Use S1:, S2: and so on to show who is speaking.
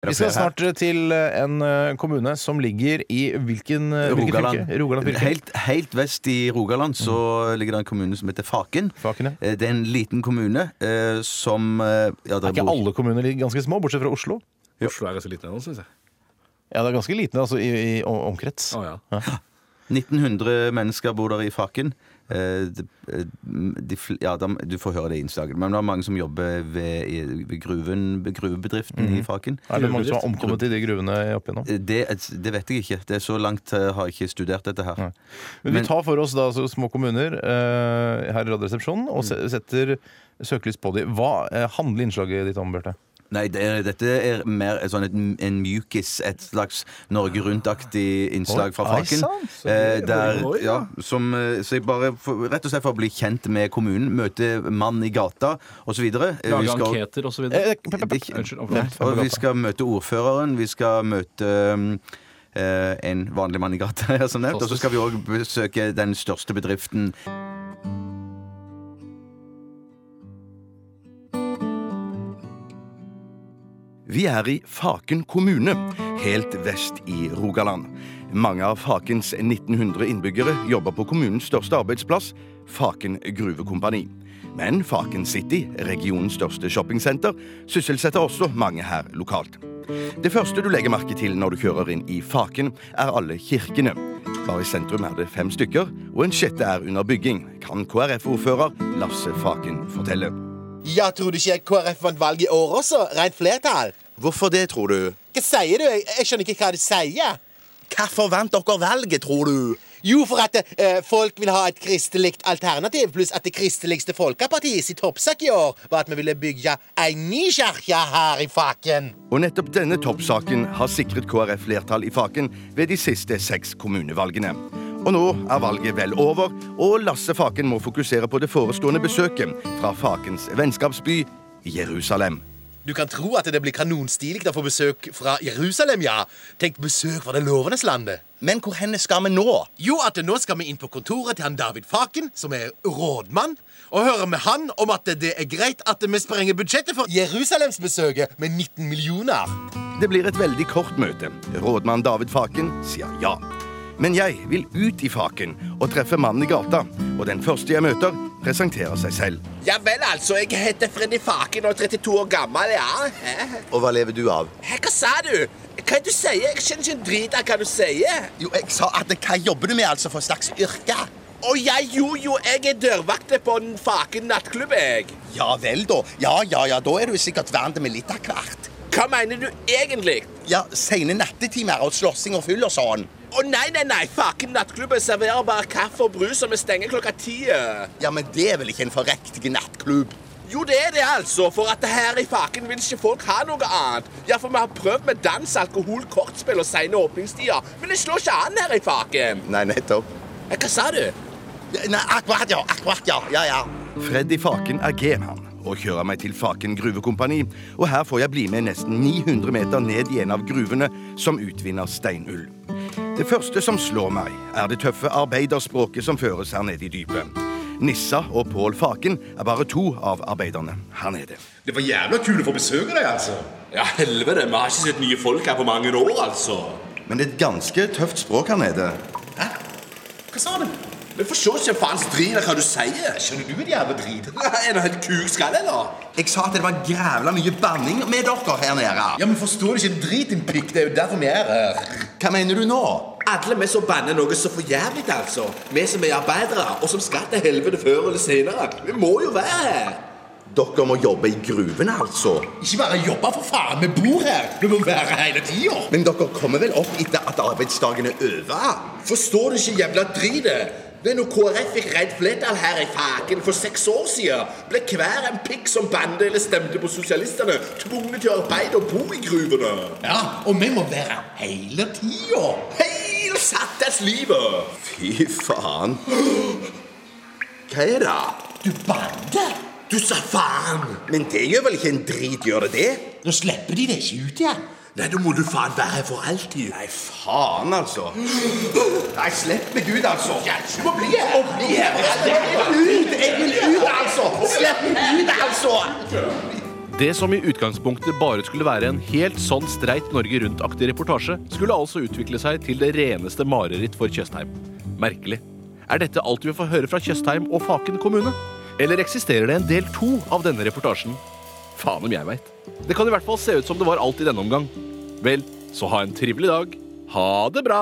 S1: Vi skal snart til en eh, kommune som ligger i hvilken eh, hvilket
S2: Rogaland.
S1: fylke? Rogaland fylke.
S2: Helt, helt vest i Rogaland så ligger det en kommune som heter Faken.
S1: Faken, ja.
S2: Eh, Det er en liten kommune eh, som eh, ja,
S1: Er ikke alle kommuner ligger ganske små, bortsett fra Oslo?
S3: Oslo er ganske liten ennå, syns jeg.
S1: Ja, det er ganske liten altså, i, i om- omkrets.
S3: Å, ja.
S2: 1900 mennesker bor der i Faken. Eh, De, eh, de, fl- ja, de, du får høre det i innslaget. Men det er mange som jobber ved, i- ved gruven, gruvebedriften
S1: Mhm.
S2: i Faken.
S1: Er det mange som har omkommet i de gruvene opp igjennom?
S2: Eh, Det, det vet jeg ikke. Det er Så langt eh, har jeg ikke studert dette her.
S1: Men vi tar for oss da så små kommuner eh, her i Radioresepsjonen og se-
S2: Mm.
S1: setter søkelys på dem. Hva eh, handler innslaget ditt om, Bjarte?
S2: Nei, det er, dette er mer et sånn et, en mjukis, et slags Norge Rundt-aktig innslag fra
S1: Oi, ei
S2: Faken.
S1: sann, så
S2: Eh,
S3: det-
S2: der,
S3: oi,
S2: ja,
S3: ja.
S2: som, eh, så jeg bare, for, rett og slett for å bli kjent med kommunen, møte mann i gata osv.
S3: Lage anketer og så videre.
S1: Eh, pep, pep, pep.
S3: Unnskyld.
S2: Ja,
S3: overfor.
S2: og vi skal møte ordføreren, vi skal møte um, eh, en vanlig mann i gata, ja, som nevnt. Og så skal vi òg besøke den største bedriften.
S4: Vi er i Faken kommune, helt vest i Rogaland. Mange av Fakens 1900 innbyggere jobber på kommunens største arbeidsplass, Faken gruvekompani. Men Faken City, regionens største shoppingsenter, sysselsetter også mange her lokalt. Det første du legger merke til når du kjører inn i Faken, er alle kirkene. Bare i sentrum er det fem stykker, og en sjette er under bygging, kan KrF-ordfører Lasse Faken fortelle.
S5: Ja, tror du ikke KrF vant valget i år også? Rent flertall?
S4: Hvorfor det, tror du?
S5: Hva sier du? Jeg, jeg skjønner ikke hva du sier.
S4: Hvorfor vant dere valget, tror du?
S5: Jo, for at eh, folk vil ha et kristelig alternativ, pluss at det kristeligste folkepartiet sitt toppsak i år var at vi ville bygge ei ny kirke her i Faken.
S4: Og nettopp denne toppsaken har sikret KrF flertall i Faken ved de siste seks kommunevalgene. Og nå er valget vel over, og Lasse Faken må fokusere på det forestående besøket fra Fakens vennskapsby Jerusalem.
S5: Du kan tro at det blir kanonstilig å få besøk fra Jerusalem, ja. Tenk besøk fra det lovendes landet.
S4: Men hvor henne skal vi nå?
S5: Jo, at nå skal vi inn på kontoret til han David Faken, som er rådmann, og høre med han om at det er greit at vi sprenger budsjettet for Jerusalemsbesøket med 19 millioner.
S4: Det blir et veldig kort møte. Rådmann David Faken sier ja. Men jeg vil ut i Faken og treffe mannen i gata, og den første jeg møter, presenterer seg selv.
S6: Ja vel, altså. Jeg heter Freddy Faken og er 32 år gammel, ja. Hæ?
S4: Og hva lever du av?
S6: Hæ, Hva sa du? Hva er det du sier? Jeg skjønner ikke en drit av hva du sier.
S5: Jo, jeg sa at hva jobber du med altså for slags yrke?
S6: Og jeg, jo, jo, jeg er dørvakt på en Faken nattklubb, jeg.
S5: Ja vel, da. Ja, ja, ja, da er du sikkert vant med litt av hvert.
S6: Hva mener du egentlig?
S5: Ja, Seine nattetimer og slåssing og fyll og sånn.
S6: Å nei, nei, nei, Faken nattklubb serverer bare kaffe og brus, og vi stenger klokka ti. eh.
S5: Ja, men det er vel ikke en forrektig nattklubb?
S6: Jo, det er det, altså, for at her i Faken vil ikke folk ha noe annet. Ja, for vi har prøvd med dans, alkohol, kortspill og sene åpningstider, men det slår ikke an her i Faken.
S5: Nei, nettopp.
S6: Eh, Hva sa du?
S5: Nei, akkurat, ja. Akkurat, ja. Ja, ja.
S4: Freddy Faken er G-mann og kjører meg til Faken gruvekompani. Og her får jeg bli med nesten 900 meter ned i en av gruvene som utvinner steinull. Det første som slår meg, er det tøffe arbeiderspråket som føres her nede i dypet. Nissa og Pål Faken er bare to av arbeiderne her nede.
S7: Det var jævla kul å få besøk av deg, altså.
S8: Ja, helvete. Vi har ikke sett nye folk her på mange år, altså.
S4: Men det er et ganske tøft språk her nede.
S6: Hva sa du? Vi får se ikke faens drit av hva du sier. Skjønner du det jævla drit? er du helt kukskall, eller?
S4: Jeg sa at det var grævla mye banning med dere her nede.
S5: Ja, men forstår du ikke en drit, din pikk? Det er jo derfor vi er her.
S4: Hva mener du nå?
S6: Alle vi som banner noe så for jævlig, altså. Vi som er arbeidere, og som skal til helvete før eller senere. Vi må jo være her.
S4: Dere må jobbe i gruvene, altså.
S5: Ikke bare jobbe, for faen. Vi bor her. Du må være her hele tida.
S4: Men dere kommer vel opp etter at arbeidsdagen er over?
S6: Forstår du ikke jævla dritet? Det er når KrF fikk redd flertall her i Faken for seks år siden, ble hver en pikk som bandet eller stemte på sosialistene, tvunget til å arbeide og bo i gruvene.
S5: Ja, og vi må være her hele tida.
S6: Heil sattes livet!
S4: Fy faen. Hva er det?
S5: Du bander.
S6: Du sa faen!
S4: Men det gjør vel ikke en drit, gjør det det?
S5: Nå slipper de deg ikke ut igjen.
S6: Nei, da må du faen være her for alltid. Nei,
S4: Faen, altså. Nei, slipp meg ut, altså.
S6: du må bli her! Og bli her! Jeg vil ut, altså! Slipp meg ut, altså! Det som i utgangspunktet bare skulle være en helt sånn streit Norge Rundt-aktig reportasje, skulle altså utvikle seg til det reneste mareritt for Tjøstheim. Merkelig. Er dette alt vi får høre fra Tjøstheim og Faken kommune? Eller eksisterer det en del to av denne reportasjen? Faen om jeg veit. Det kan i hvert fall se ut som det var alt i denne omgang. Vel, så ha en trivelig dag. Ha det bra!